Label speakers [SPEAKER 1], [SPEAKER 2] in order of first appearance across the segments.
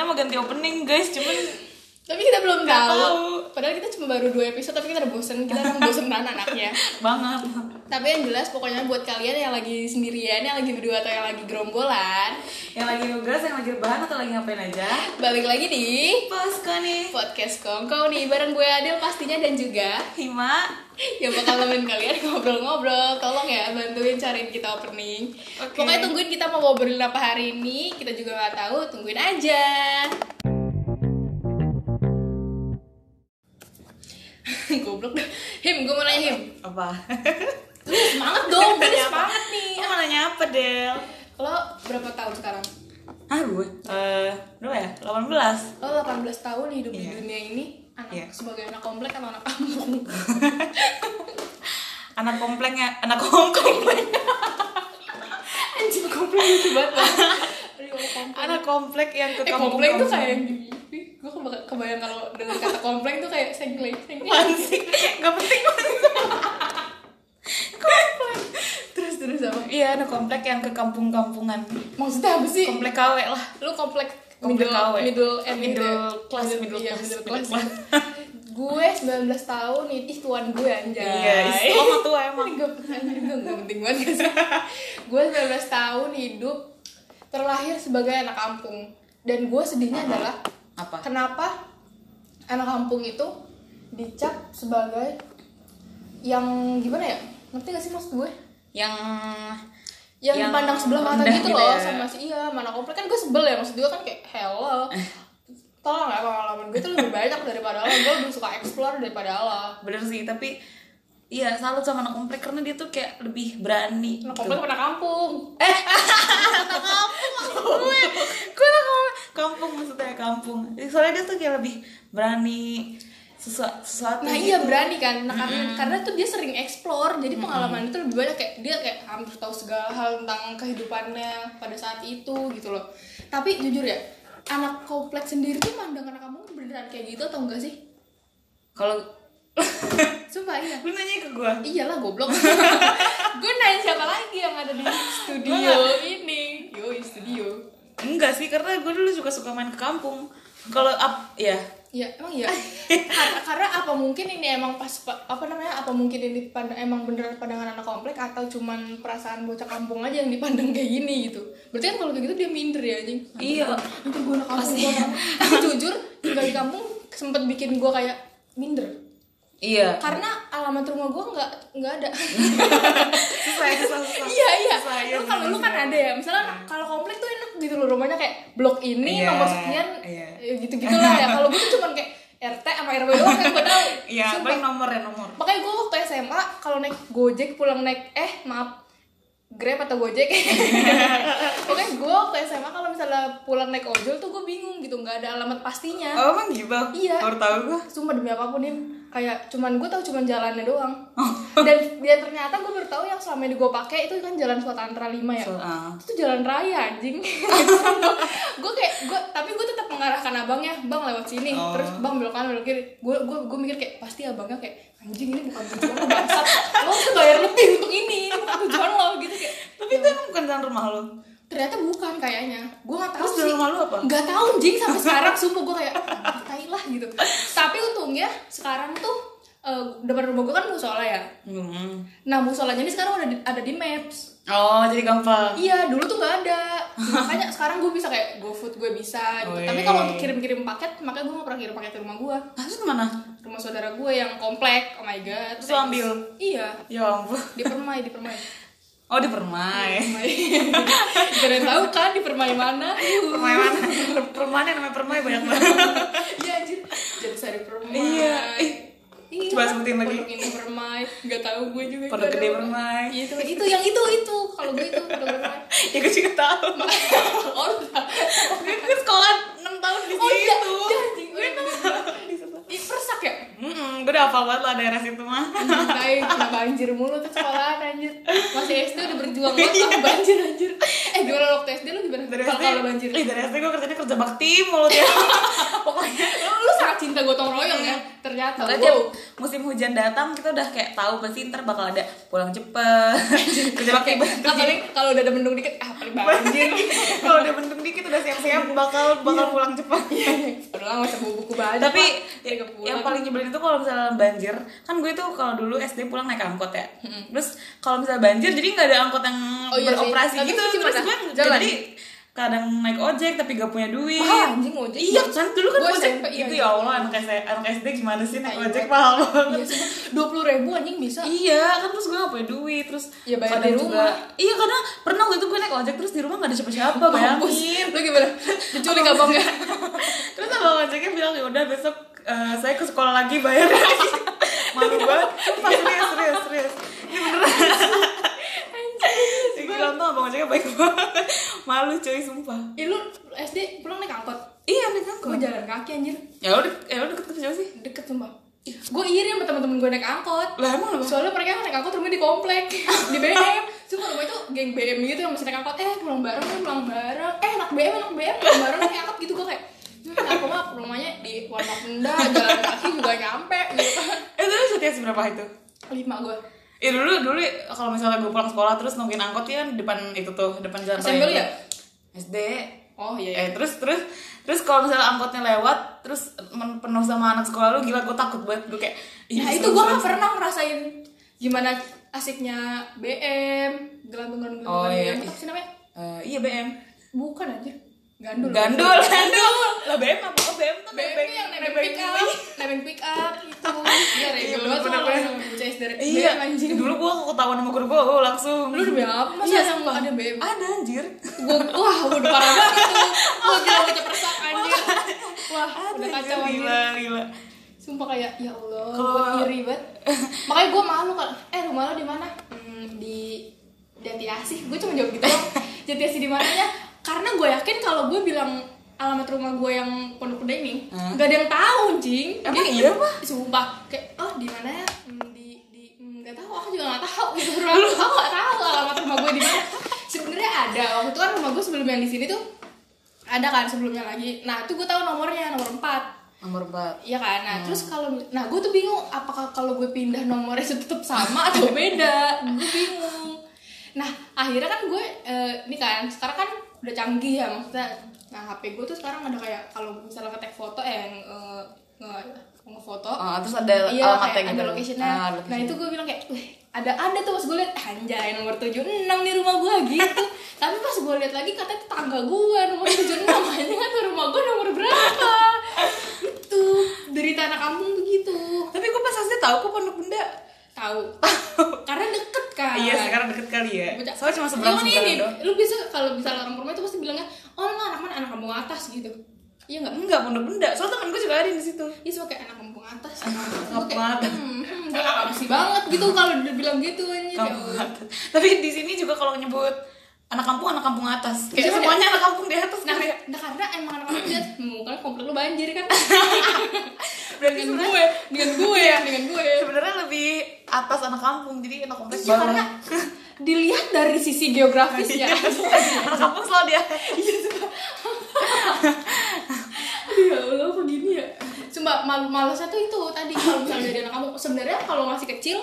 [SPEAKER 1] mau ganti opening guys cuman
[SPEAKER 2] Tapi kita belum
[SPEAKER 1] Nggak
[SPEAKER 2] tahu.
[SPEAKER 1] tahu.
[SPEAKER 2] Padahal kita cuma baru dua episode tapi kita udah bosen, kita emang bosen banget anaknya.
[SPEAKER 1] banget
[SPEAKER 2] Tapi yang jelas pokoknya buat kalian yang lagi sendirian, yang lagi berdua atau yang lagi gerombolan,
[SPEAKER 1] yang lagi nugas yang lagi rebahan atau lagi ngapain aja
[SPEAKER 2] balik lagi di
[SPEAKER 1] posko nih
[SPEAKER 2] podcast Kongko nih bareng gue Adil pastinya dan juga
[SPEAKER 1] Hima
[SPEAKER 2] yang Ya, bakal nemenin kalian ngobrol-ngobrol tolong ya bantuin cariin kita opening
[SPEAKER 1] Oke.
[SPEAKER 2] pokoknya tungguin kita mau ngobrolin apa hari ini kita juga nggak tahu tungguin aja goblok dah him gue mau nanya him
[SPEAKER 1] apa
[SPEAKER 2] lu semangat dong gue udah semangat nih
[SPEAKER 1] Ini mau nanya apa Del
[SPEAKER 2] lo berapa tahun sekarang
[SPEAKER 1] ah gue eh berapa ya 18
[SPEAKER 2] lo 18 tahun hidup di
[SPEAKER 1] Iya.
[SPEAKER 2] dunia ini anak
[SPEAKER 1] Iya.
[SPEAKER 2] sebagai anak komplek atau anak kampung
[SPEAKER 1] anak kompleknya anak komplek
[SPEAKER 2] anjing komplek itu banget Aduh, komplek.
[SPEAKER 1] anak komplek yang ke
[SPEAKER 2] eh komplek tuh kayak yang di mimpi gue kebayang kalau dengan kata komplek tuh kayak sengleng sengleng
[SPEAKER 1] sih nggak penting komplek
[SPEAKER 2] terus terus apa
[SPEAKER 1] iya anak komplek yang ke kampung-kampungan
[SPEAKER 2] maksudnya apa sih
[SPEAKER 1] komplek KW lah
[SPEAKER 2] lu komplek middle
[SPEAKER 1] Komplek KW.
[SPEAKER 2] middle and
[SPEAKER 1] Middle class, middle
[SPEAKER 2] iya,
[SPEAKER 1] class,
[SPEAKER 2] middle
[SPEAKER 1] middle
[SPEAKER 2] class gue 19 tahun nih ih tuan gue anjay
[SPEAKER 1] Iya, Islam mah tua emang.
[SPEAKER 2] gue gak penting banget gak sih gue 19 tahun hidup terlahir sebagai anak kampung dan gue sedihnya adalah
[SPEAKER 1] Apa?
[SPEAKER 2] kenapa anak kampung itu dicap sebagai yang gimana ya ngerti gak sih maksud gue
[SPEAKER 1] Yang
[SPEAKER 2] yang,
[SPEAKER 1] Yang
[SPEAKER 2] dipandang sebelah mata
[SPEAKER 1] rendah
[SPEAKER 2] gitu
[SPEAKER 1] gitu
[SPEAKER 2] loh
[SPEAKER 1] ya.
[SPEAKER 2] sama si iya mana komplek kan gue sebel ya maksud gue kan kayak hello tolong ya pengalaman gue tuh lebih banyak daripada lo gue lebih suka explore daripada lo
[SPEAKER 1] bener sih, tapi Iya, salut sama anak komplek karena dia tuh kayak lebih berani. Gitu.
[SPEAKER 2] anak komplek pernah kampung
[SPEAKER 1] gue, gue anak komplek. kampung maksudnya kampung. Soalnya dia tuh kayak lebih berani sesua- sesuatu. gitu.
[SPEAKER 2] nah iya berani kan nah, karena, karena tuh dia sering explore jadi pengalaman itu lebih banyak kayak dia kayak hampir tahu segala hal tentang kehidupannya pada saat itu gitu loh tapi jujur ya anak komplek sendiri tuh mandang anak kampung tuh beneran kayak gitu atau enggak sih
[SPEAKER 1] Kalau
[SPEAKER 2] sumpah iya
[SPEAKER 1] lu nanya ke gue,
[SPEAKER 2] Iyalah goblok. gue nanya siapa lagi yang ada di studio ini? Yo, studio.
[SPEAKER 1] enggak sih karena gue dulu suka suka main ke kampung. Kalau up, ya
[SPEAKER 2] Ya, emang ya. karena, karena apa mungkin ini emang pas pa- apa namanya? Apa mungkin ini pand- emang beneran pandangan anak komplek atau cuman perasaan bocah kampung aja yang dipandang kayak gini gitu. Berarti kan kalau kayak gitu dia minder ya anjing.
[SPEAKER 1] Iya.
[SPEAKER 2] Nanti gue anak kampung. gua anak kampung. Tapi jujur, tinggal di kampung sempet bikin gue kayak minder.
[SPEAKER 1] iya.
[SPEAKER 2] Karena alamat rumah gue nggak nggak ada.
[SPEAKER 1] Susah, ya, susah, susah.
[SPEAKER 2] iya iya
[SPEAKER 1] Susah, iya,
[SPEAKER 2] lu kalau lu kan ada ya misalnya kalau komplek tuh enak gitu loh rumahnya kayak blok ini
[SPEAKER 1] Iya,
[SPEAKER 2] nomor sekian
[SPEAKER 1] iya.
[SPEAKER 2] gitu gitulah ya kalau gue tuh cuman kayak RT sama RW doang yang gue tahu
[SPEAKER 1] Iya,
[SPEAKER 2] Sumpah.
[SPEAKER 1] paling nomor ya nomor.
[SPEAKER 2] makanya gue waktu SMA kalau naik gojek pulang naik eh maaf Grab atau Gojek Pokoknya gue waktu SMA kalau misalnya pulang naik ojol tuh gue bingung gitu Nggak ada alamat pastinya
[SPEAKER 1] Oh, emang gitu?
[SPEAKER 2] Iya.
[SPEAKER 1] Baru tahu gue.
[SPEAKER 2] Sumpah demi apapun Im Kayak cuman gue tahu cuman jalannya doang
[SPEAKER 1] Oh.
[SPEAKER 2] Dan dan ya ternyata gue baru tahu yang selama ini gue pakai itu kan jalan Suatantra 5 ya
[SPEAKER 1] So, ah.
[SPEAKER 2] Itu jalan raya anjing Gue kayak, gue tapi gue tetap mengarahkan abangnya Bang lewat sini,
[SPEAKER 1] Oh.
[SPEAKER 2] terus bang belok kanan belok kiri Gue gue gue mikir kayak, pasti abangnya kayak Anjing ini bukan tujuan lo bangsat Lo tuh bayar lebih untuk ini, ini bukan tujuan lo gitu kayak
[SPEAKER 1] Tapi itu emang bukan jalan rumah lu.
[SPEAKER 2] ternyata bukan kayaknya gue nggak tahu
[SPEAKER 1] Terus
[SPEAKER 2] sih
[SPEAKER 1] jalan rumah lu apa?
[SPEAKER 2] nggak tahu jing sampai sekarang sumpah gue kayak "Ah, tai lah gitu tapi untungnya sekarang tuh eh, depan rumah gue kan musola ya
[SPEAKER 1] Hmm.
[SPEAKER 2] nah musolanya ini sekarang udah di- ada di maps
[SPEAKER 1] Oh, jadi gampang.
[SPEAKER 2] iya dulu tuh nggak ada makanya sekarang gue bisa kayak GoFood gue bisa
[SPEAKER 1] Oh,
[SPEAKER 2] gitu. tapi
[SPEAKER 1] iya,
[SPEAKER 2] kalau untuk kirim-kirim paket makanya gue nggak pernah kirim paket ke rumah gue
[SPEAKER 1] Terus kemana?
[SPEAKER 2] rumah saudara gue yang komplek oh my god
[SPEAKER 1] Terus lu ambil?
[SPEAKER 2] iya
[SPEAKER 1] Ya ampun.
[SPEAKER 2] di permai di permai
[SPEAKER 1] Oh, di permai.
[SPEAKER 2] Permai. Gak ada yang tahu kan di permai mana Uh.
[SPEAKER 1] Permai mana? Permai yang namanya permai banyak banget.
[SPEAKER 2] Iya anjir, jadi sari permai.
[SPEAKER 1] Iya. Ih,
[SPEAKER 2] Iya,
[SPEAKER 1] coba sebutin lagi.
[SPEAKER 2] Pondok ini permai, gak tau gue juga.
[SPEAKER 1] Pondok
[SPEAKER 2] itu
[SPEAKER 1] Gede
[SPEAKER 2] ada-
[SPEAKER 1] Permai.
[SPEAKER 2] Iya, Itu, itu yang itu itu. Kalau gue itu pondok permai.
[SPEAKER 1] ya gue juga tahu.
[SPEAKER 2] Oh, enggak.
[SPEAKER 1] Gue sekolah 6 tahun di
[SPEAKER 2] Oh, iya,
[SPEAKER 1] situ.
[SPEAKER 2] iya, anjing gue Ih, persak ya?
[SPEAKER 1] Mm-mm, gue Hmm, udah hafal banget lah daerah situ mah.
[SPEAKER 2] Anjing, Tai, kenapa banjir mulu tuh sekolahan anjir Masih SD udah berjuang banget sama banjir anjir Eh gimana lo waktu SD lu gimana?
[SPEAKER 1] Iya. Dari
[SPEAKER 2] Kalau
[SPEAKER 1] SD,
[SPEAKER 2] kalau banjir
[SPEAKER 1] Ih, dari SD gue kerjanya kerja bakti mulut ya.
[SPEAKER 2] pokoknya lu, lu sangat cinta gotong royong ya ternyata
[SPEAKER 1] Iya. Makanya tiap
[SPEAKER 2] wow
[SPEAKER 1] musim hujan datang kita udah kayak tahu pasti ntar bakal ada pulang cepet kerja pakai
[SPEAKER 2] Ah,
[SPEAKER 1] baju.
[SPEAKER 2] paling kalau udah ada mendung dikit ah paling banjir
[SPEAKER 1] Kalau udah bentuk dikit udah siap-siap bakal bakal pulang cepat.
[SPEAKER 2] udah lama sebuah buku baju
[SPEAKER 1] Tapi
[SPEAKER 2] Pak. Tiga
[SPEAKER 1] ya-
[SPEAKER 2] bulan.
[SPEAKER 1] yang paling nyebelin itu kalau misalnya banjir, kan gue tuh kalau dulu SD pulang naik angkot ya. Terus kalau misalnya banjir jadi nggak ada angkot yang
[SPEAKER 2] Oh iya sih.
[SPEAKER 1] beroperasi
[SPEAKER 2] Tapi
[SPEAKER 1] gitu.
[SPEAKER 2] itu
[SPEAKER 1] Terus
[SPEAKER 2] gimana?
[SPEAKER 1] gue
[SPEAKER 2] Jalan?
[SPEAKER 1] jadi kadang naik ojek tapi gak punya duit.
[SPEAKER 2] Wah, anjing ojek.
[SPEAKER 1] Iya kan dulu kan
[SPEAKER 2] Gue
[SPEAKER 1] ojek
[SPEAKER 2] SMP, iya,
[SPEAKER 1] itu
[SPEAKER 2] iya.
[SPEAKER 1] ya Allah anak SD, anak SD gimana sih naik
[SPEAKER 2] Iya.
[SPEAKER 1] ojek mahal banget.
[SPEAKER 2] dua puluh ribu anjing bisa
[SPEAKER 1] Iya, kan terus gue gak punya duit, terus
[SPEAKER 2] Ya, bayar
[SPEAKER 1] kadang
[SPEAKER 2] di
[SPEAKER 1] juga-
[SPEAKER 2] rumah.
[SPEAKER 1] iya, karena pernah waktu itu gue naik ojek terus di rumah gak ada siapa-siapa,
[SPEAKER 2] Mampus.
[SPEAKER 1] bayangin.
[SPEAKER 2] lu gimana diculik apa enggak
[SPEAKER 1] terus abang ojeknya bilang ya udah besok eh, saya ke sekolah lagi bayar lagi. Malu banget, sumpah serius, serius, serius. Ini beneran. Gue nonton abang ojeknya baik banget. Malu cuy, sumpah.
[SPEAKER 2] Ih, lu SD pulang naik angkot
[SPEAKER 1] Iya, naik angkot.
[SPEAKER 2] gue jalan kaki anjir
[SPEAKER 1] Ya udah, ya udah deket kerja sih.
[SPEAKER 2] deket sumpah gue iri sama temen-temen gue naik angkot
[SPEAKER 1] Lah emang lu
[SPEAKER 2] soalnya mereka naik angkot rumahnya di komplek di BM cuma rumah itu geng BM gitu yang masih naik angkot eh pulang bareng eh, pulang bareng eh anak BM anak BM pulang bareng naik angkot gitu gue kayak hmm, aku mah rumahnya di Warna Penda jalan kaki juga nyampe gitu kan
[SPEAKER 1] Eh, lu setiap seberapa itu?
[SPEAKER 2] lima gue
[SPEAKER 1] Ya dulu dulu kalau misalnya gue pulang sekolah terus nungguin angkot ya kan depan itu tuh, depan jalan
[SPEAKER 2] SMP lu
[SPEAKER 1] raya.
[SPEAKER 2] ya
[SPEAKER 1] SD
[SPEAKER 2] oh iya, iya.
[SPEAKER 1] Eh terus terus terus kalau misalnya angkotnya lewat terus men- penuh sama anak sekolah lu gila gue takut banget gue kayak "Ih,
[SPEAKER 2] Nah itu gue gak pernah ngerasain gimana asiknya BM, gelandungan gelandungan
[SPEAKER 1] Oh, iya.
[SPEAKER 2] apa sih namanya?
[SPEAKER 1] Eh, iya BM
[SPEAKER 2] Bukan aja, gandul.
[SPEAKER 1] gandul gandul lah BM apa oh BM tuh
[SPEAKER 2] BM tuh yang nebeng pick up, nebeng pick up itu. Iya,
[SPEAKER 1] Iya,
[SPEAKER 2] regular tuh
[SPEAKER 1] bener-bener.
[SPEAKER 2] orang CS dari
[SPEAKER 1] iya
[SPEAKER 2] BM anjing.
[SPEAKER 1] dulu gue ketahuan sama guru gue gue langsung
[SPEAKER 2] Lu udah BM apa? Masa
[SPEAKER 1] Iya,
[SPEAKER 2] yang gak ada BM?
[SPEAKER 1] ada anjir
[SPEAKER 2] Gua, wah, udah parah banget tuh. Gua gila udah persak anjir. Wah, udah kacau anjir.
[SPEAKER 1] gila gila
[SPEAKER 2] Sumpah kayak ya Allah,
[SPEAKER 1] Kalau-
[SPEAKER 2] gue iri banget. Makanya gue malu kalau eh rumah lo di mana? Hmm, di Jati Asih. Gue cuma jawab gitu doang. Jati Asih di mananya? Karena gue yakin kalau gue bilang alamat rumah gue yang Pondok Gede ini,
[SPEAKER 1] Hah?
[SPEAKER 2] gak ada yang tahu, Jing.
[SPEAKER 1] Emang
[SPEAKER 2] Jadi,
[SPEAKER 1] iya, Pak?
[SPEAKER 2] Sumpah, kayak oh di mana ya? Hmm, di di hmm, gak tahu, aku juga gak tahu gitu. Rumah aku gak tahu alamat rumah gue di mana. Sebenarnya ada. Waktu itu kan rumah gue sebelum yang di sini tuh ada kan sebelumnya lagi. Nah, itu gue tahu nomornya, nomor 4
[SPEAKER 1] nomor empat
[SPEAKER 2] Iya kan, nah terus kalau nah gue tuh bingung apakah kalau gue pindah nomornya itu tetap sama atau beda, gue bingung. Nah akhirnya kan gue eh, ini kan sekarang kan udah canggih ya maksudnya, nah HP gue tuh sekarang ada kayak kalau misalnya ngetek foto eh, yang eh, nge- ngefoto,
[SPEAKER 1] Ah, terus ada
[SPEAKER 2] iya
[SPEAKER 1] alamatnya
[SPEAKER 2] kayak
[SPEAKER 1] gitu
[SPEAKER 2] ada locationnya
[SPEAKER 1] Ah,
[SPEAKER 2] nah
[SPEAKER 1] location.
[SPEAKER 2] itu gue bilang kayak "Wih, ada ada tuh pas gue liat anjay nomor 76 nih rumah gue gitu tapi pas gue liat lagi katanya tetangga gue nomor 76 aja nggak tuh rumah gue nomor berapa itu dari tanah kampung begitu
[SPEAKER 1] tapi gue pas SD tahu kok pondok benda
[SPEAKER 2] tahu karena deket kan
[SPEAKER 1] iya sekarang deket kali ya
[SPEAKER 2] Bocah.
[SPEAKER 1] soalnya cuma
[SPEAKER 2] Lu
[SPEAKER 1] seberang
[SPEAKER 2] kan
[SPEAKER 1] seberang
[SPEAKER 2] ini,
[SPEAKER 1] doang
[SPEAKER 2] lu bisa kalau misalnya orang rumah itu pasti bilangnya oh lu anak mana anak kampung atas gitu iya nggak
[SPEAKER 1] enggak pondok benda soalnya temen gue juga ada di situ
[SPEAKER 2] Iya suka kayak anak kampung atas
[SPEAKER 1] kampung
[SPEAKER 2] Kayak,
[SPEAKER 1] atas.
[SPEAKER 2] "Hmm, hmm, Dia gak kamsi banget gitu kalau dibilang gitu anjir ya
[SPEAKER 1] kampung
[SPEAKER 2] Allah.
[SPEAKER 1] atas. Tapi di sini juga kalau nyebut anak kampung anak kampung atas.
[SPEAKER 2] Iya,
[SPEAKER 1] Kayak semuanya anak kampung di atas
[SPEAKER 2] Nah,
[SPEAKER 1] kali ya.
[SPEAKER 2] nah, karena emang anak kampung lihat hmm, kan komplek lu banjir kan
[SPEAKER 1] Berarti
[SPEAKER 2] Dengan
[SPEAKER 1] sebenarnya
[SPEAKER 2] gue, dengan gue, dengan gue
[SPEAKER 1] sebenarnya lebih atas anak kampung jadi anak kompleks
[SPEAKER 2] Iya, karena
[SPEAKER 1] bawah.
[SPEAKER 2] dilihat dari sisi ya. geografisnya
[SPEAKER 1] Iya, anak kampung selalu dia.
[SPEAKER 2] Aduh ya Allah, kok gini ya? Cuma mal malasnya tuh itu tadi kalau misalnya dari anak kampung Sebenarnya kalau masih kecil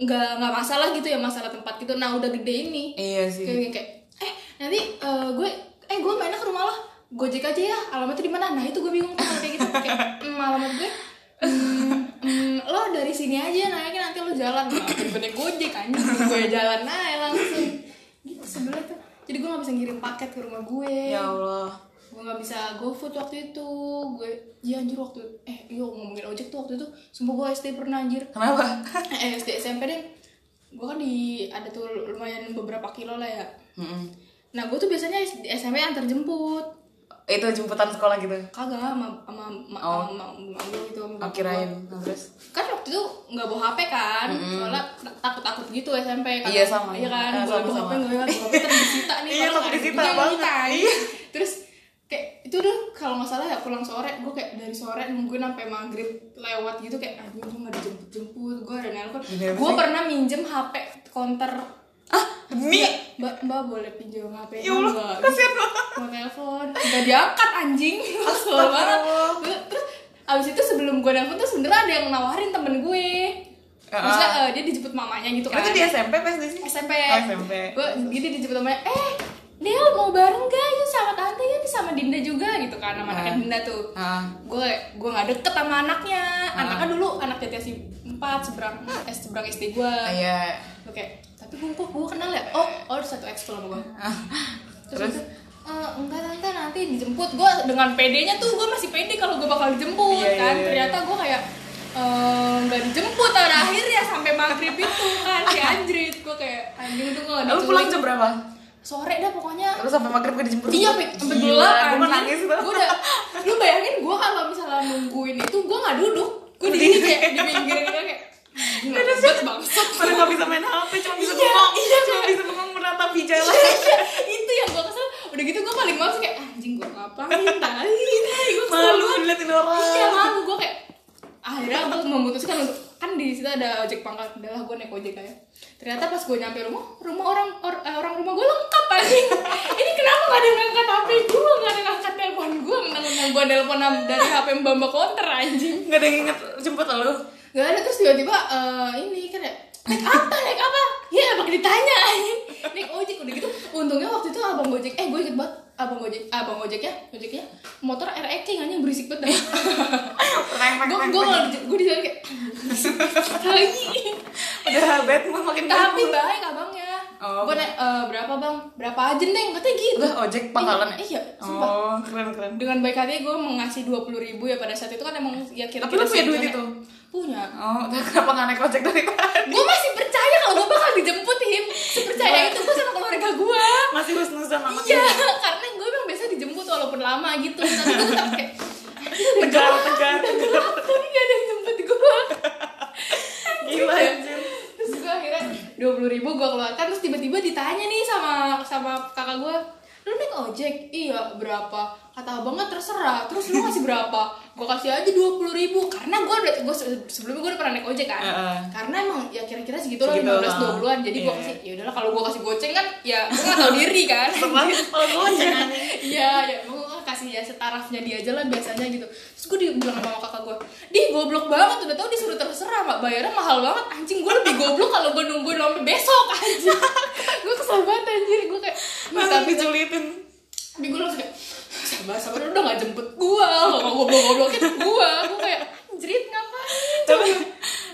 [SPEAKER 2] nggak nggak masalah gitu ya masalah tempat gitu nah udah gede ini
[SPEAKER 1] Iya
[SPEAKER 2] kayak kayak eh nanti eh, gue eh gue mainnya ke rumah lo gojek aja ya alamatnya di mana nah itu gue bingung tuh kalau kayak gitu kayak "Mm, alamat gue mm, mm, lo dari sini aja naiknya nanti lo jalan nah, gue naik gojek kan gue jalan naik langsung gitu sebelah tuh jadi gue gak bisa ngirim paket ke rumah gue
[SPEAKER 1] Ya Allah.
[SPEAKER 2] gue nggak bisa GoFood waktu itu gue iya anjir waktu eh iya ngomongin ojek tuh waktu itu sumpah gue SD pernah anjir
[SPEAKER 1] Kenapa?
[SPEAKER 2] eh, SD SMP deh gue kan di ada tuh lumayan beberapa kilo lah ya
[SPEAKER 1] Mm-mm.
[SPEAKER 2] nah gue tuh biasanya SD SMP antar jemput
[SPEAKER 1] Itu jemputan sekolah gitu.
[SPEAKER 2] kagak sama sama sama
[SPEAKER 1] Oh.
[SPEAKER 2] sama emak gue gitu sama
[SPEAKER 1] Oh,
[SPEAKER 2] bokap gue.
[SPEAKER 1] kirain. Nah, Terus
[SPEAKER 2] kan waktu itu nggak bawa HP kan soalnya takut takut gitu SMP kan
[SPEAKER 1] Iya, sama.
[SPEAKER 2] iya kan
[SPEAKER 1] Eh,
[SPEAKER 2] gue bawa
[SPEAKER 1] sama-sama.
[SPEAKER 2] HP nggak bawa HP terus disita nih
[SPEAKER 1] Iya,
[SPEAKER 2] kalau
[SPEAKER 1] takut
[SPEAKER 2] nggak-
[SPEAKER 1] disita
[SPEAKER 2] iya,
[SPEAKER 1] banget.
[SPEAKER 2] disita, anjing.
[SPEAKER 1] Iya.
[SPEAKER 2] terus kayak itu udah kalau nggak salah ya pulang sore gue kayak dari sore nungguin sampai maghrib lewat gitu kayak anjing gue nggak dijemput jemput gue ada nelpon
[SPEAKER 1] Iya,
[SPEAKER 2] gue
[SPEAKER 1] sih.
[SPEAKER 2] pernah minjem HP konter
[SPEAKER 1] ah Demi.
[SPEAKER 2] Mbak, mbak boleh pinjam HP
[SPEAKER 1] Ya Allah,
[SPEAKER 2] Mbak.
[SPEAKER 1] kasihan banget.
[SPEAKER 2] Mau telepon, nggak diangkat anjing. Kesel banget. Gue- Terus abis itu sebelum gue nelfon tuh sebenernya ada yang nawarin temen gue.
[SPEAKER 1] Ah.
[SPEAKER 2] Maksudnya eh, dia dijemput mamanya gitu kan.
[SPEAKER 1] Itu di SMP pas di sini.
[SPEAKER 2] SMP.
[SPEAKER 1] Oh, SMP.
[SPEAKER 2] Gue gitu dijemput mamanya, "Eh, Del mau bareng gak? Yuk sama tante ya, sama Dinda juga gitu kan sama
[SPEAKER 1] Ah.
[SPEAKER 2] anaknya Dinda tuh
[SPEAKER 1] Ah.
[SPEAKER 2] gue gue nggak deket sama anaknya anaknya dulu anak jatiasi empat seberang eh seberang SD gue
[SPEAKER 1] Iya.
[SPEAKER 2] Oke, tapi gue kok gue kenal ya? Oh, oh ada satu ekskul sama gue. Terus,
[SPEAKER 1] Terus?
[SPEAKER 2] itu, "Eh, enggak tante nanti dijemput gue dengan pedenya tuh gue masih pede kalau gue bakal dijemput
[SPEAKER 1] Iya,
[SPEAKER 2] kan
[SPEAKER 1] iya, iya.
[SPEAKER 2] ternyata gue kayak eh, nggak dijemput pada akhirnya sampai maghrib itu kan si anjrit gue kayak anjing tuh gue nggak
[SPEAKER 1] Lu pulang
[SPEAKER 2] diculik
[SPEAKER 1] jam berapa?
[SPEAKER 2] sore dah pokoknya
[SPEAKER 1] Terus sampai maghrib gue dijemput.
[SPEAKER 2] Iya, Pik. sampai
[SPEAKER 1] Gila,
[SPEAKER 2] gelap
[SPEAKER 1] Gue
[SPEAKER 2] anjing.
[SPEAKER 1] mau nangis banget.
[SPEAKER 2] Gua udah lu bayangin gua kalau misalnya nungguin itu gua nggak duduk. Gua di sini kayak di pinggir gitu kayak nggak ribet banget.
[SPEAKER 1] Padahal nggak bisa main HP, cuma bisa
[SPEAKER 2] Iya,
[SPEAKER 1] bengong.
[SPEAKER 2] iya,
[SPEAKER 1] cuma
[SPEAKER 2] kayak-
[SPEAKER 1] bisa bengong menatap hijau lah.
[SPEAKER 2] itu yang gua kesel. Udah gitu gua paling males kayak anjing gua ngapain tadi? Gua kesel
[SPEAKER 1] Malu
[SPEAKER 2] banget.
[SPEAKER 1] diliatin orang.
[SPEAKER 2] Iya, malu gua kayak akhirnya aku memutuskan untuk kan di situ ada ojek pangkal udah lah gue naik ojek aja ternyata pas gue nyampe rumah rumah orang or- eh, orang rumah gue lengkap anjing ini kenapa gak ada yang ngangkat hp gue gak ada yang ngangkat telepon gue menang gue telepon dari hp mbak mbak konter anjing
[SPEAKER 1] Nggak ada yang inget jemput lu.
[SPEAKER 2] Gak ada terus tiba-tiba eh, ini kan ya naik apa naik apa ya pakai ditanya anjing naik ojek udah gitu untungnya waktu itu abang gojek eh gue ikut banget abang gojek abang gojeknya gojeknya motor RX anjing berisik banget
[SPEAKER 1] Reng, reng,
[SPEAKER 2] gue
[SPEAKER 1] reng,
[SPEAKER 2] gue
[SPEAKER 1] reng.
[SPEAKER 2] kalau di- gue di jalan kayak lagi
[SPEAKER 1] Udah Batman makin
[SPEAKER 2] tapi
[SPEAKER 1] Batman.
[SPEAKER 2] baik abangnya
[SPEAKER 1] Oh.
[SPEAKER 2] gue naik "Eh, berapa bang berapa aja neng katanya gitu
[SPEAKER 1] Udah ojek pangkalan ya?
[SPEAKER 2] iya sumpah
[SPEAKER 1] Oh, keren-keren.
[SPEAKER 2] dengan baik hati gue mengasih dua puluh ribu ya pada saat itu kan emang ya kira-kira
[SPEAKER 1] Tapi lu punya duit
[SPEAKER 2] segitunya.
[SPEAKER 1] itu?
[SPEAKER 2] punya
[SPEAKER 1] Oh, kenapa nggak naik ojek dari tadi?
[SPEAKER 2] gue masih percaya kalau gue bakal dijemput him percaya itu gue sama keluarga gue
[SPEAKER 1] Masih husnuzan sama
[SPEAKER 2] iya karena gue emang biasa dijemput walaupun lama gitu tapi gue tetap kayak
[SPEAKER 1] Tegar, tegar, tegar.
[SPEAKER 2] tapi gak ada yang jemput gue
[SPEAKER 1] Gila anjir.
[SPEAKER 2] terus gue akhirnya dua puluh ribu gue keluarkan terus tiba-tiba ditanya nih sama sama kakak gue lu naik ojek iya berapa kata abangnya terserah terus lu kasih berapa gue kasih aja dua puluh ribu karena gue udah gue sebelumnya gue udah pernah naik ojek kan
[SPEAKER 1] Heeh.
[SPEAKER 2] karena emang ya kira-kira segitu lah
[SPEAKER 1] Segitu
[SPEAKER 2] lima
[SPEAKER 1] lah.
[SPEAKER 2] belas dua puluhan jadi gue
[SPEAKER 1] Iya.
[SPEAKER 2] kasih ya udahlah kalau gue kasih goceng kan ya gue nggak tahu diri kan
[SPEAKER 1] Setelah kalau gue ojek anjing.
[SPEAKER 2] Iya, ya, gue kasih ya setarafnya dia aja lah biasanya gitu. Terus gue dibilang sama kakak gue, di goblok banget udah tau disuruh terserah, mak bayarnya mahal banget. Anjing gue lebih goblok kalau gue nungguin sampai besok anjing. gue kesel banget anjir, gue kayak minta
[SPEAKER 1] Masih dijulitin.
[SPEAKER 2] tapi gue langsung kayak sabar sabar udah gak jemput gue, kalau goblok goblokin gue, gue kayak jerit ngapain?
[SPEAKER 1] Tapi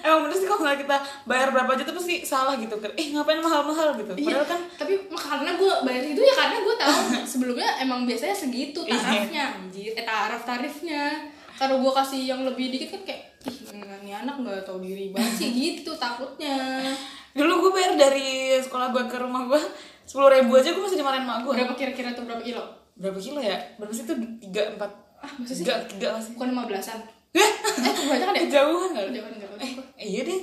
[SPEAKER 1] emang bener sih kalau nggak kita bayar berapa aja tuh pasti salah gitu kan. Eh ngapain mahal-mahal gitu.
[SPEAKER 2] Iya,
[SPEAKER 1] Padahal kan
[SPEAKER 2] tapi karena gue bayar itu ya karena gue tahu sebelumnya emang biasanya segitu tarafnya Iya. anjir eh taraf tarifnya kalau gue kasih yang lebih dikit kan kayak ih ini anak nggak tahu diri banget sih gitu takutnya
[SPEAKER 1] dulu gue bayar dari sekolah gue ke rumah gue sepuluh ribu aja gue masih dimarahin mak gue.
[SPEAKER 2] berapa kira-kira tuh berapa kilo
[SPEAKER 1] Berapa kilo ya? Berapa sih tuh? Tiga, empat.
[SPEAKER 2] ah maksudnya
[SPEAKER 1] Tiga, tiga lah sih.
[SPEAKER 2] bukan lima belasan eh kebanyakan ya
[SPEAKER 1] Kejauhan nggak?
[SPEAKER 2] Jangan, jangan.
[SPEAKER 1] Eh, Iya deh.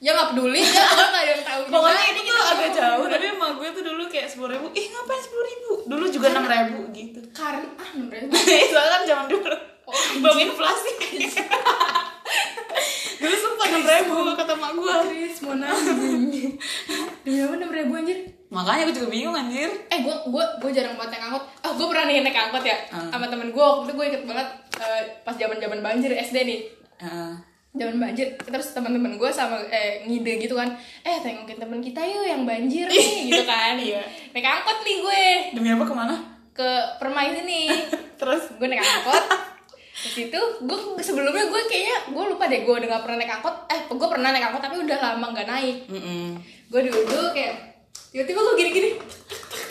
[SPEAKER 2] ya nggak peduli ya nggak ada yang tahu juga.
[SPEAKER 1] Pokoknya ini gitu,
[SPEAKER 2] Kita
[SPEAKER 1] tuh agak
[SPEAKER 2] ngomong.
[SPEAKER 1] jauh. Tapi emak gue tuh dulu kayak sepuluh ribu. Ih ngapain sepuluh ribu? Dulu juga enam ribu gitu.
[SPEAKER 2] karena ah enam ribu
[SPEAKER 1] Soalnya kan zaman dulu
[SPEAKER 2] Oh, anjing.
[SPEAKER 1] belum inflasi. dulu sumpah enam ribu kata mak gue.
[SPEAKER 2] Chris mau nangis demi apa enam ribu anjir
[SPEAKER 1] Makanya gue juga bingung anjir.
[SPEAKER 2] eh gue gue gue jarang banget naik angkot oh gue pernah nih naik angkot ya sama temen gue waktu itu gue ikut banget eh, pas zaman zaman banjir SD nih
[SPEAKER 1] Heeh.
[SPEAKER 2] zaman banjir terus teman-teman gue sama eh, ngide gitu kan eh tengokin temen kita yuk yang banjir nih gitu kan
[SPEAKER 1] Iya.
[SPEAKER 2] naik angkot nih gue
[SPEAKER 1] Demi apa kemana?
[SPEAKER 2] ke permai sini
[SPEAKER 1] Terus
[SPEAKER 2] gue naik angkot terus itu gue sebelumnya gue kayaknya gue lupa deh gue udah gak pernah naik angkot eh gue pernah naik angkot tapi udah lama gak naik gue duduk kayak tiba-tiba gue gini-gini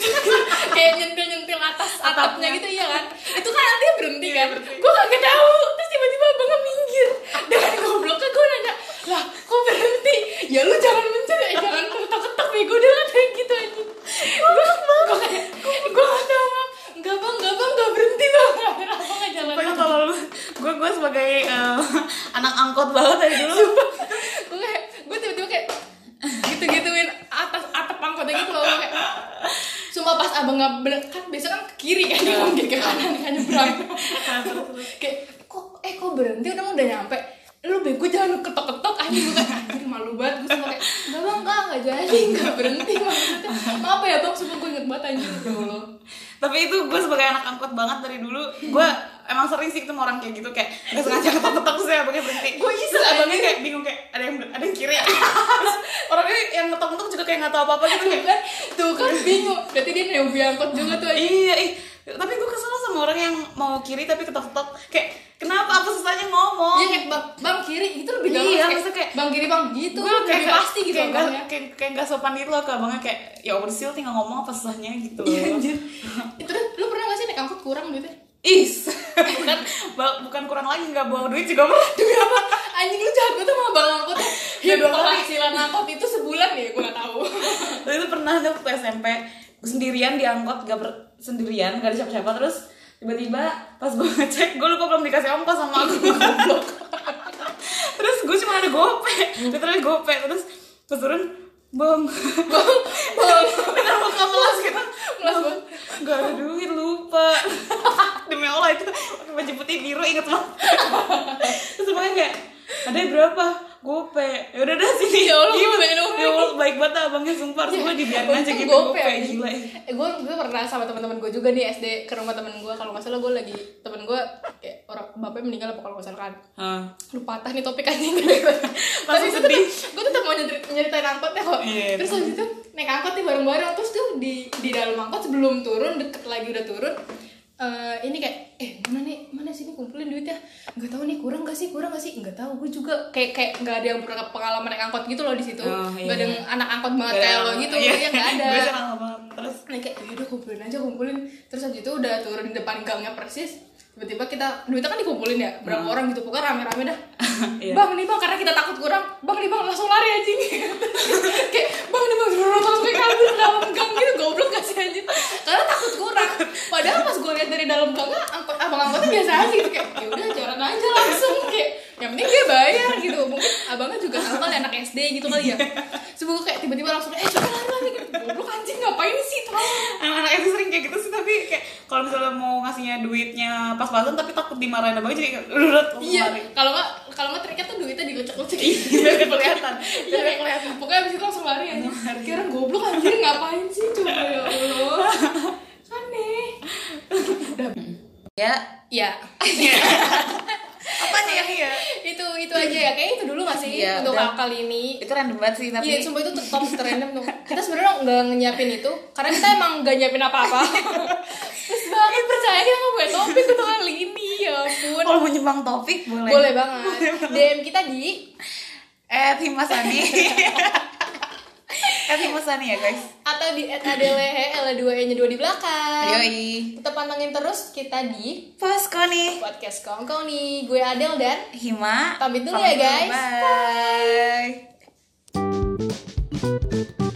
[SPEAKER 2] kayak nyentil-nyentil atas atapnya gitu iya kan itu kan artinya berhenti kan gue kagak tahu terus tiba-tiba abangnya minggir dengan gobloknya gue nanya lah kok berhenti ya lu jangan mencet ya jangan ketok-ketok bego dia kan kayak gitu aja gue gue kayak gue gak tahu Bang. enggak bang enggak bang enggak berhenti bang akhirnya abangnya jalan
[SPEAKER 1] Pokoknya kalau lu, gue gue sebagai eh, anak angkot banget dari dulu.
[SPEAKER 2] gue kayak gue tiba-tiba kayak gitu-gituin atas atap angkotnya gitu loh gue kayak sumpah pas abang nggak bel- kan biasa kan ke kiri kan dia nggak ke kanan kan nyebrang kayak kok eh kok berhenti udah udah nyampe lu bego jangan lu ketok-ketok aja gue kayak anjir malu banget gue sumpah kayak enggak bang enggak enggak jadi enggak berhenti maksudnya apa ya bang semua gue inget banget anjir dulu
[SPEAKER 1] tapi itu gue sebagai anak angkot banget dari dulu gue emang sering sih ketemu orang kayak gitu kayak nggak sengaja ketok-ketok terus ya abangnya berhenti gue
[SPEAKER 2] iseng
[SPEAKER 1] terus abangnya kayak bingung kayak ada yang ada yang kiri ya Terus orangnya yang ngetok-ngetok juga kayak nggak tahu apa-apa gitu
[SPEAKER 2] tuh
[SPEAKER 1] kayak
[SPEAKER 2] kan tuh kan bingung berarti dia nyobi angkot juga tuh anjing.
[SPEAKER 1] iya ih tapi gue kesel sama orang yang mau kiri tapi ketok-ketok kayak kenapa apa susahnya ngomong
[SPEAKER 2] Iya kayak bang, bang kiri itu lebih gampang
[SPEAKER 1] Iya,
[SPEAKER 2] kayak,
[SPEAKER 1] maksudnya kayak-
[SPEAKER 2] bang kiri bang gitu
[SPEAKER 1] gue kayak
[SPEAKER 2] lebih
[SPEAKER 1] nggak-
[SPEAKER 2] pasti gitu
[SPEAKER 1] kayak nggak
[SPEAKER 2] orangnya.
[SPEAKER 1] kayak, kayak nggak sopan gitu loh ke abangnya kayak ya overseal tinggal ngomong apa susahnya gitu
[SPEAKER 2] Iya anjir. Itu lu pernah gak sih naik angkot kurang gitu? duitnya?
[SPEAKER 1] is bukan ba- bukan kurang lagi nggak buang duit juga pernah
[SPEAKER 2] Demi apa? Anjing lu jago tuh sama bang angkot.
[SPEAKER 1] Ya,
[SPEAKER 2] Ya
[SPEAKER 1] dua kali.
[SPEAKER 2] penghasilan angkot itu sebulan ya gue gak tahu.
[SPEAKER 1] Terus itu pernah tuh waktu SMP gue sendirian diangkut gak ber- sendirian gak ada siapa-siapa terus tiba-tiba pas gue ngecek gue lupa belum dikasih ongkos sama aku goblok terus gue cuma ada gope literally gope terus pas turun bang
[SPEAKER 2] Bang,
[SPEAKER 1] bener mau ke kelas gitu
[SPEAKER 2] Kelas, Bang.
[SPEAKER 1] gak ada duit lupa demi Allah itu pakai baju putih biru inget banget terus semuanya kayak ada berapa gope yaudah dah sini
[SPEAKER 2] Ya Allah,
[SPEAKER 1] Gimana?
[SPEAKER 2] gope doang.
[SPEAKER 1] ya Allah baik banget dah abangnya sumpah harus gue dibiarin aja
[SPEAKER 2] untung
[SPEAKER 1] gitu
[SPEAKER 2] gope,
[SPEAKER 1] gope
[SPEAKER 2] anjing.
[SPEAKER 1] gila
[SPEAKER 2] Eh, gue gue pernah sama teman-teman gue juga nih SD ke rumah temen gue kalau nggak salah gue lagi temen gue kayak orang bapaknya meninggal apa kalau nggak salah kan
[SPEAKER 1] Hah.
[SPEAKER 2] lu patah nih topik anjing tapi gue
[SPEAKER 1] sedih.
[SPEAKER 2] tetep gue tetep mau nyeri- nyeritain angkotnya kok
[SPEAKER 1] Iya.
[SPEAKER 2] terus habis itu naik angkot nih bareng-bareng terus tuh di di dalam angkot sebelum turun deket lagi udah turun eh, ini kayak eh mana nih mana sini kumpulin duitnya nggak tahu nih kurang gak sih kurang gak sih nggak tahu gue juga kayak kayak nggak ada yang pernah pengalaman naik angkot gitu loh di situ
[SPEAKER 1] Oh, iya.
[SPEAKER 2] nggak ada yang anak angkot banget kayak lo gitu
[SPEAKER 1] Iya.
[SPEAKER 2] ya nggak ada
[SPEAKER 1] gue senang banget terus
[SPEAKER 2] nah kayak yaudah kumpulin aja kumpulin terus habis itu udah turun di depan gangnya persis tiba-tiba kita duitnya kan dikumpulin ya berapa
[SPEAKER 1] Hmm.
[SPEAKER 2] orang gitu pokoknya rame-rame dah
[SPEAKER 1] Iya.
[SPEAKER 2] bang nih bang karena kita takut kurang bang nih bang langsung lari anjing kayak bang nih bang berurut langsung kayak kabur ke dalam gang gitu goblok gak sih anjing karena takut kurang padahal pas gue lihat dari dalam gangnya angkot abang angkotnya biasa aja gitu kayak yaudah jalan aja langsung kayak yang penting dia bayar gitu mungkin abangnya juga awal anak SD gitu kali ya sebelum kayak tiba-tiba langsung eh coba lari lari gitu goblok anjing ngapain sih tolong
[SPEAKER 1] anak-anak itu sering kayak gitu sih tapi kayak kalau misalnya mau ngasihnya duitnya pas-pasan tapi takut dimarahin abangnya jadi kayak urut
[SPEAKER 2] Iya, kalau nggak kalau nggak triknya tuh duitnya dilecek-lecek
[SPEAKER 1] Biar kelihatan.
[SPEAKER 2] Iya, biar kelihatan. Pokoknya abis itu langsung lari aja. Kira goblok anjir ngapain sih coba ya Allah. Aneh.
[SPEAKER 1] ya
[SPEAKER 2] Ya,
[SPEAKER 1] apa ya iya
[SPEAKER 2] itu itu aja ya. Kayaknya itu dulu nggak sih
[SPEAKER 1] Iya,
[SPEAKER 2] untuk
[SPEAKER 1] udah.
[SPEAKER 2] kali ini.
[SPEAKER 1] itu random banget sih tapi
[SPEAKER 2] Iya, sumpah itu top terendam tuh. Kita sebenarnya nggak nyiapin itu karena kita emang nggak nyiapin apa-apa. Terus banget percaya kita nggak buat topik untuk kali ini ya ampun.
[SPEAKER 1] kalau mau nyumbang topik boleh
[SPEAKER 2] Boleh banget. DM kita di
[SPEAKER 1] eh Himasani eh Himasani ya guys
[SPEAKER 2] atau di @adelehe L2E nya 2 di belakang.
[SPEAKER 1] yoi
[SPEAKER 2] Tetap pantengin terus kita di
[SPEAKER 1] Posko nih
[SPEAKER 2] podcast Kongkong nih. Gue Adel dan
[SPEAKER 1] Hima
[SPEAKER 2] Pamit dulu ya, guys.
[SPEAKER 1] bye.